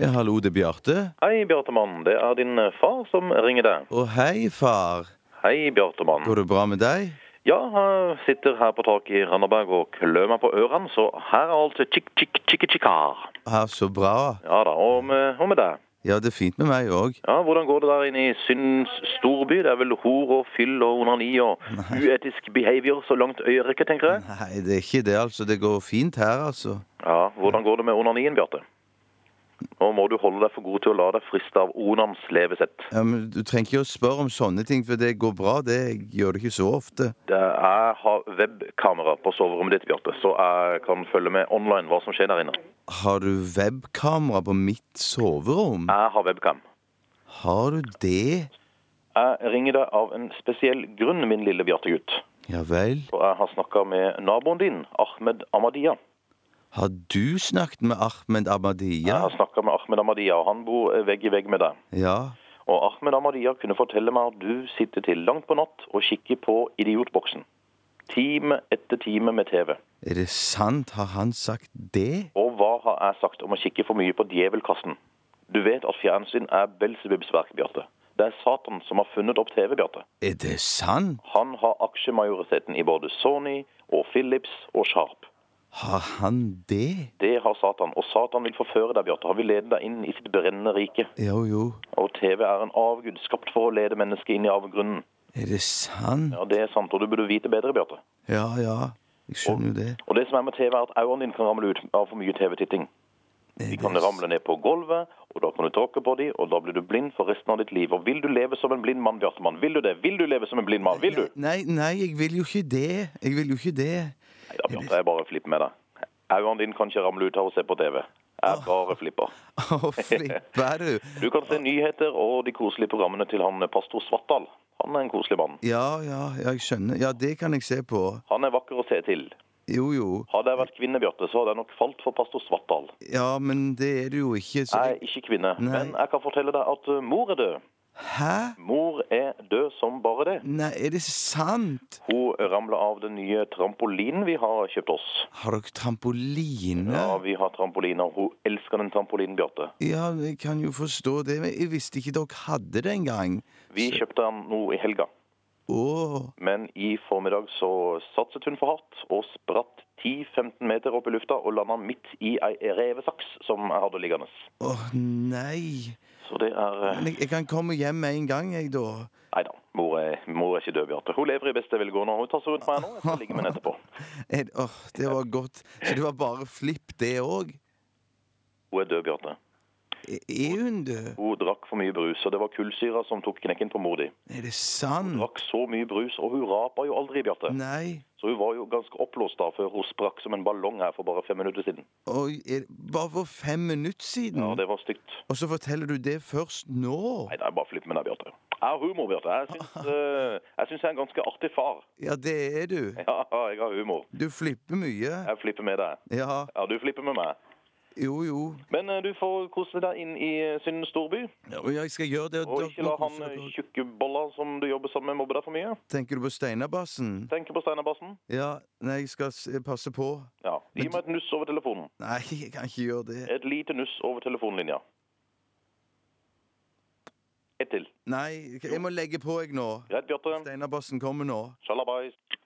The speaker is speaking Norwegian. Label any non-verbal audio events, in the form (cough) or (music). Ja, hallo, det er Bjarte. Hei, Bjartemann. Det er din eh, far som ringer deg. Å, hei, far. Hei, Bjartemann. Går det bra med deg? Ja, jeg sitter her på taket i Randaberg og klør meg på ørene, så her er altså tjikk, tjikk, tjikk, tjikkar. Ja, så bra. Ja da, og med, og med deg. Ja, det er fint med meg òg. Ja, Hvordan går det der inne i syndens storby? Det er vel hor og fyll og onani og uetisk behavior så langt øyet rekker, tenker jeg. Nei, det er ikke det, altså. Det går fint her, altså. Ja, Hvordan går det med onanien, Bjarte? Nå må du holde deg for god til å la deg friste av onans levesett. Ja, men Du trenger ikke å spørre om sånne ting, for det går bra. Det jeg gjør det ikke så ofte. Det- Jeg har webkamera på soverommet ditt, Bjarte, så jeg kan følge med online hva som skjer der inne. Har du webkamera på mitt soverom? Jeg har webcam. Har du det? Jeg ringer deg av en spesiell grunn, min lille Bjarte-gutt. Ja vel. Og jeg har snakka med naboen din, Ahmed Amadia. Har du snakket med Ahmed Jeg Ahmadia? har snakka med Ahmed Amadia, og han bor eh, vegg i vegg med deg. Ja. Og Ahmed Amadia kunne fortelle meg at du sitter til langt på natt og kikker på Idiotboksen. Time etter time med TV. Er det sant? Har han sagt det? Og hva har jeg sagt om å kikke for mye på Djevelkassen? Du vet at fjernsyn er Belzebubs verk, Bjarte. Det er Satan som har funnet opp TV, Bjarte. Er det sant? Han har aksjemajoriteten i både Sony og Philips og Sharp. Har han det? Det har Satan, og Satan vil forføre deg, Bjarte. Han vil lede deg inn i sitt brennende rike. Jo, jo. Og TV er en avgud skapt for å lede mennesket inn i avgrunnen. Er det sant? Ja, det er sant, og du burde vite bedre, Bjarte. Ja, ja. Jeg skjønner jo det. Og det som er med TV, er at øynene dine kan ramle ut av for mye TV-titting. Er De det kan ramle ned på gulvet, og da kan du tråkke på dem, og da blir du blind for resten av ditt liv. Og vil du leve som en blind mann, Bjartemann? Vil du det? Vil du leve som en blind mann? Vil du? Nei, nei, jeg vil jo ikke det. Jeg vil jo ikke det. (laughs) Nei da, Bjarte, jeg bare flipper med deg. Øynene dine kan ikke ramle ut av å se på TV. Jeg bare flipper. Å, flipper du. Du kan se nyheter og de koselige programmene til han eh, pastor Svartdal. Han er en koselig mann. Ja, ja, ja, jeg skjønner. Ja, det kan jeg se på. Han er vakker å se til. Jo, jo. Hadde jeg vært kvinne, Bjarte, så hadde jeg nok falt for pastor Svartdal. Ja, men det er det jo ikke. Så jeg... Jeg er ikke kvinne, Nei. men jeg kan fortelle deg at uh, mor er død. Hæ? Mor er død som bare det. Nei, er det sant? Hun ramla av den nye trampolinen vi har kjøpt oss. Har dere trampoline? Ja, vi har trampoliner. Hun elsker den trampolinen, Bjarte. Ja, jeg kan jo forstå det, men jeg visste ikke dere hadde det engang. Vi kjøpte den nå i helga, Å, men i formiddag så satset hun for hardt og spratt 10-15 meter opp i lufta og landa midt i ei revesaks som jeg hadde liggende. å nei. Så det er eh, Men jeg, jeg kan komme hjem med en gang, jeg, da. Nei da, mor er, mor er ikke død, Bjarte. Hun lever i beste velgående. Hun tar seg rundt meg nå. Jeg skal ligge med henne etterpå. Er det- Eh, Åh, det var godt. Så det var bare flipp, det E, òg? Hun er død, Bjarte. Er hun død? Hun drakk for mye brus, og det var kullsyra som tok knekken på mor di. Er det sant? Drakk så mye brus, og hun rapa jo aldri, Bjarte. Nei. Så hun var jo ganske oppblåst da, før hun sprakk som en ballong her for bare fem minutter siden. Oi, er, bare for fem minutter siden? Ja, det var stygt. Og så forteller du det først nå? Nei, det er bare flipp med deg, Bjarte. Jeg har humor, Bjarte. Jeg syns, eh, jeg syns jeg er en ganske artig far. (laughs) Ja, det er du. Ja, jeg har humor. Du flipper mye. Jeg flipper med deg. Ja, Ja, du flipper med meg. jo, jo. Men eh, du får kose deg inn i eh, syndens storby. Ja, og jeg skal gjøre det. Og ikke la han eh, han tjukke bolla som du jobber sammen med, mobbe deg for mye. Tenker du på Steinerbassen? Tenk på Steinerbassen. Ja, nei, jeg skal s- passe på. Ja. Gi meg et nuss over telefonen. Nei, (laughs) jeg kan ikke gjøre det. Et lite nuss over telefonlinja. Ett til. Nei, jeg må legge på, jeg, nå. Greit, Bjarte. Steinerbassen kommer nå. Sjalabais.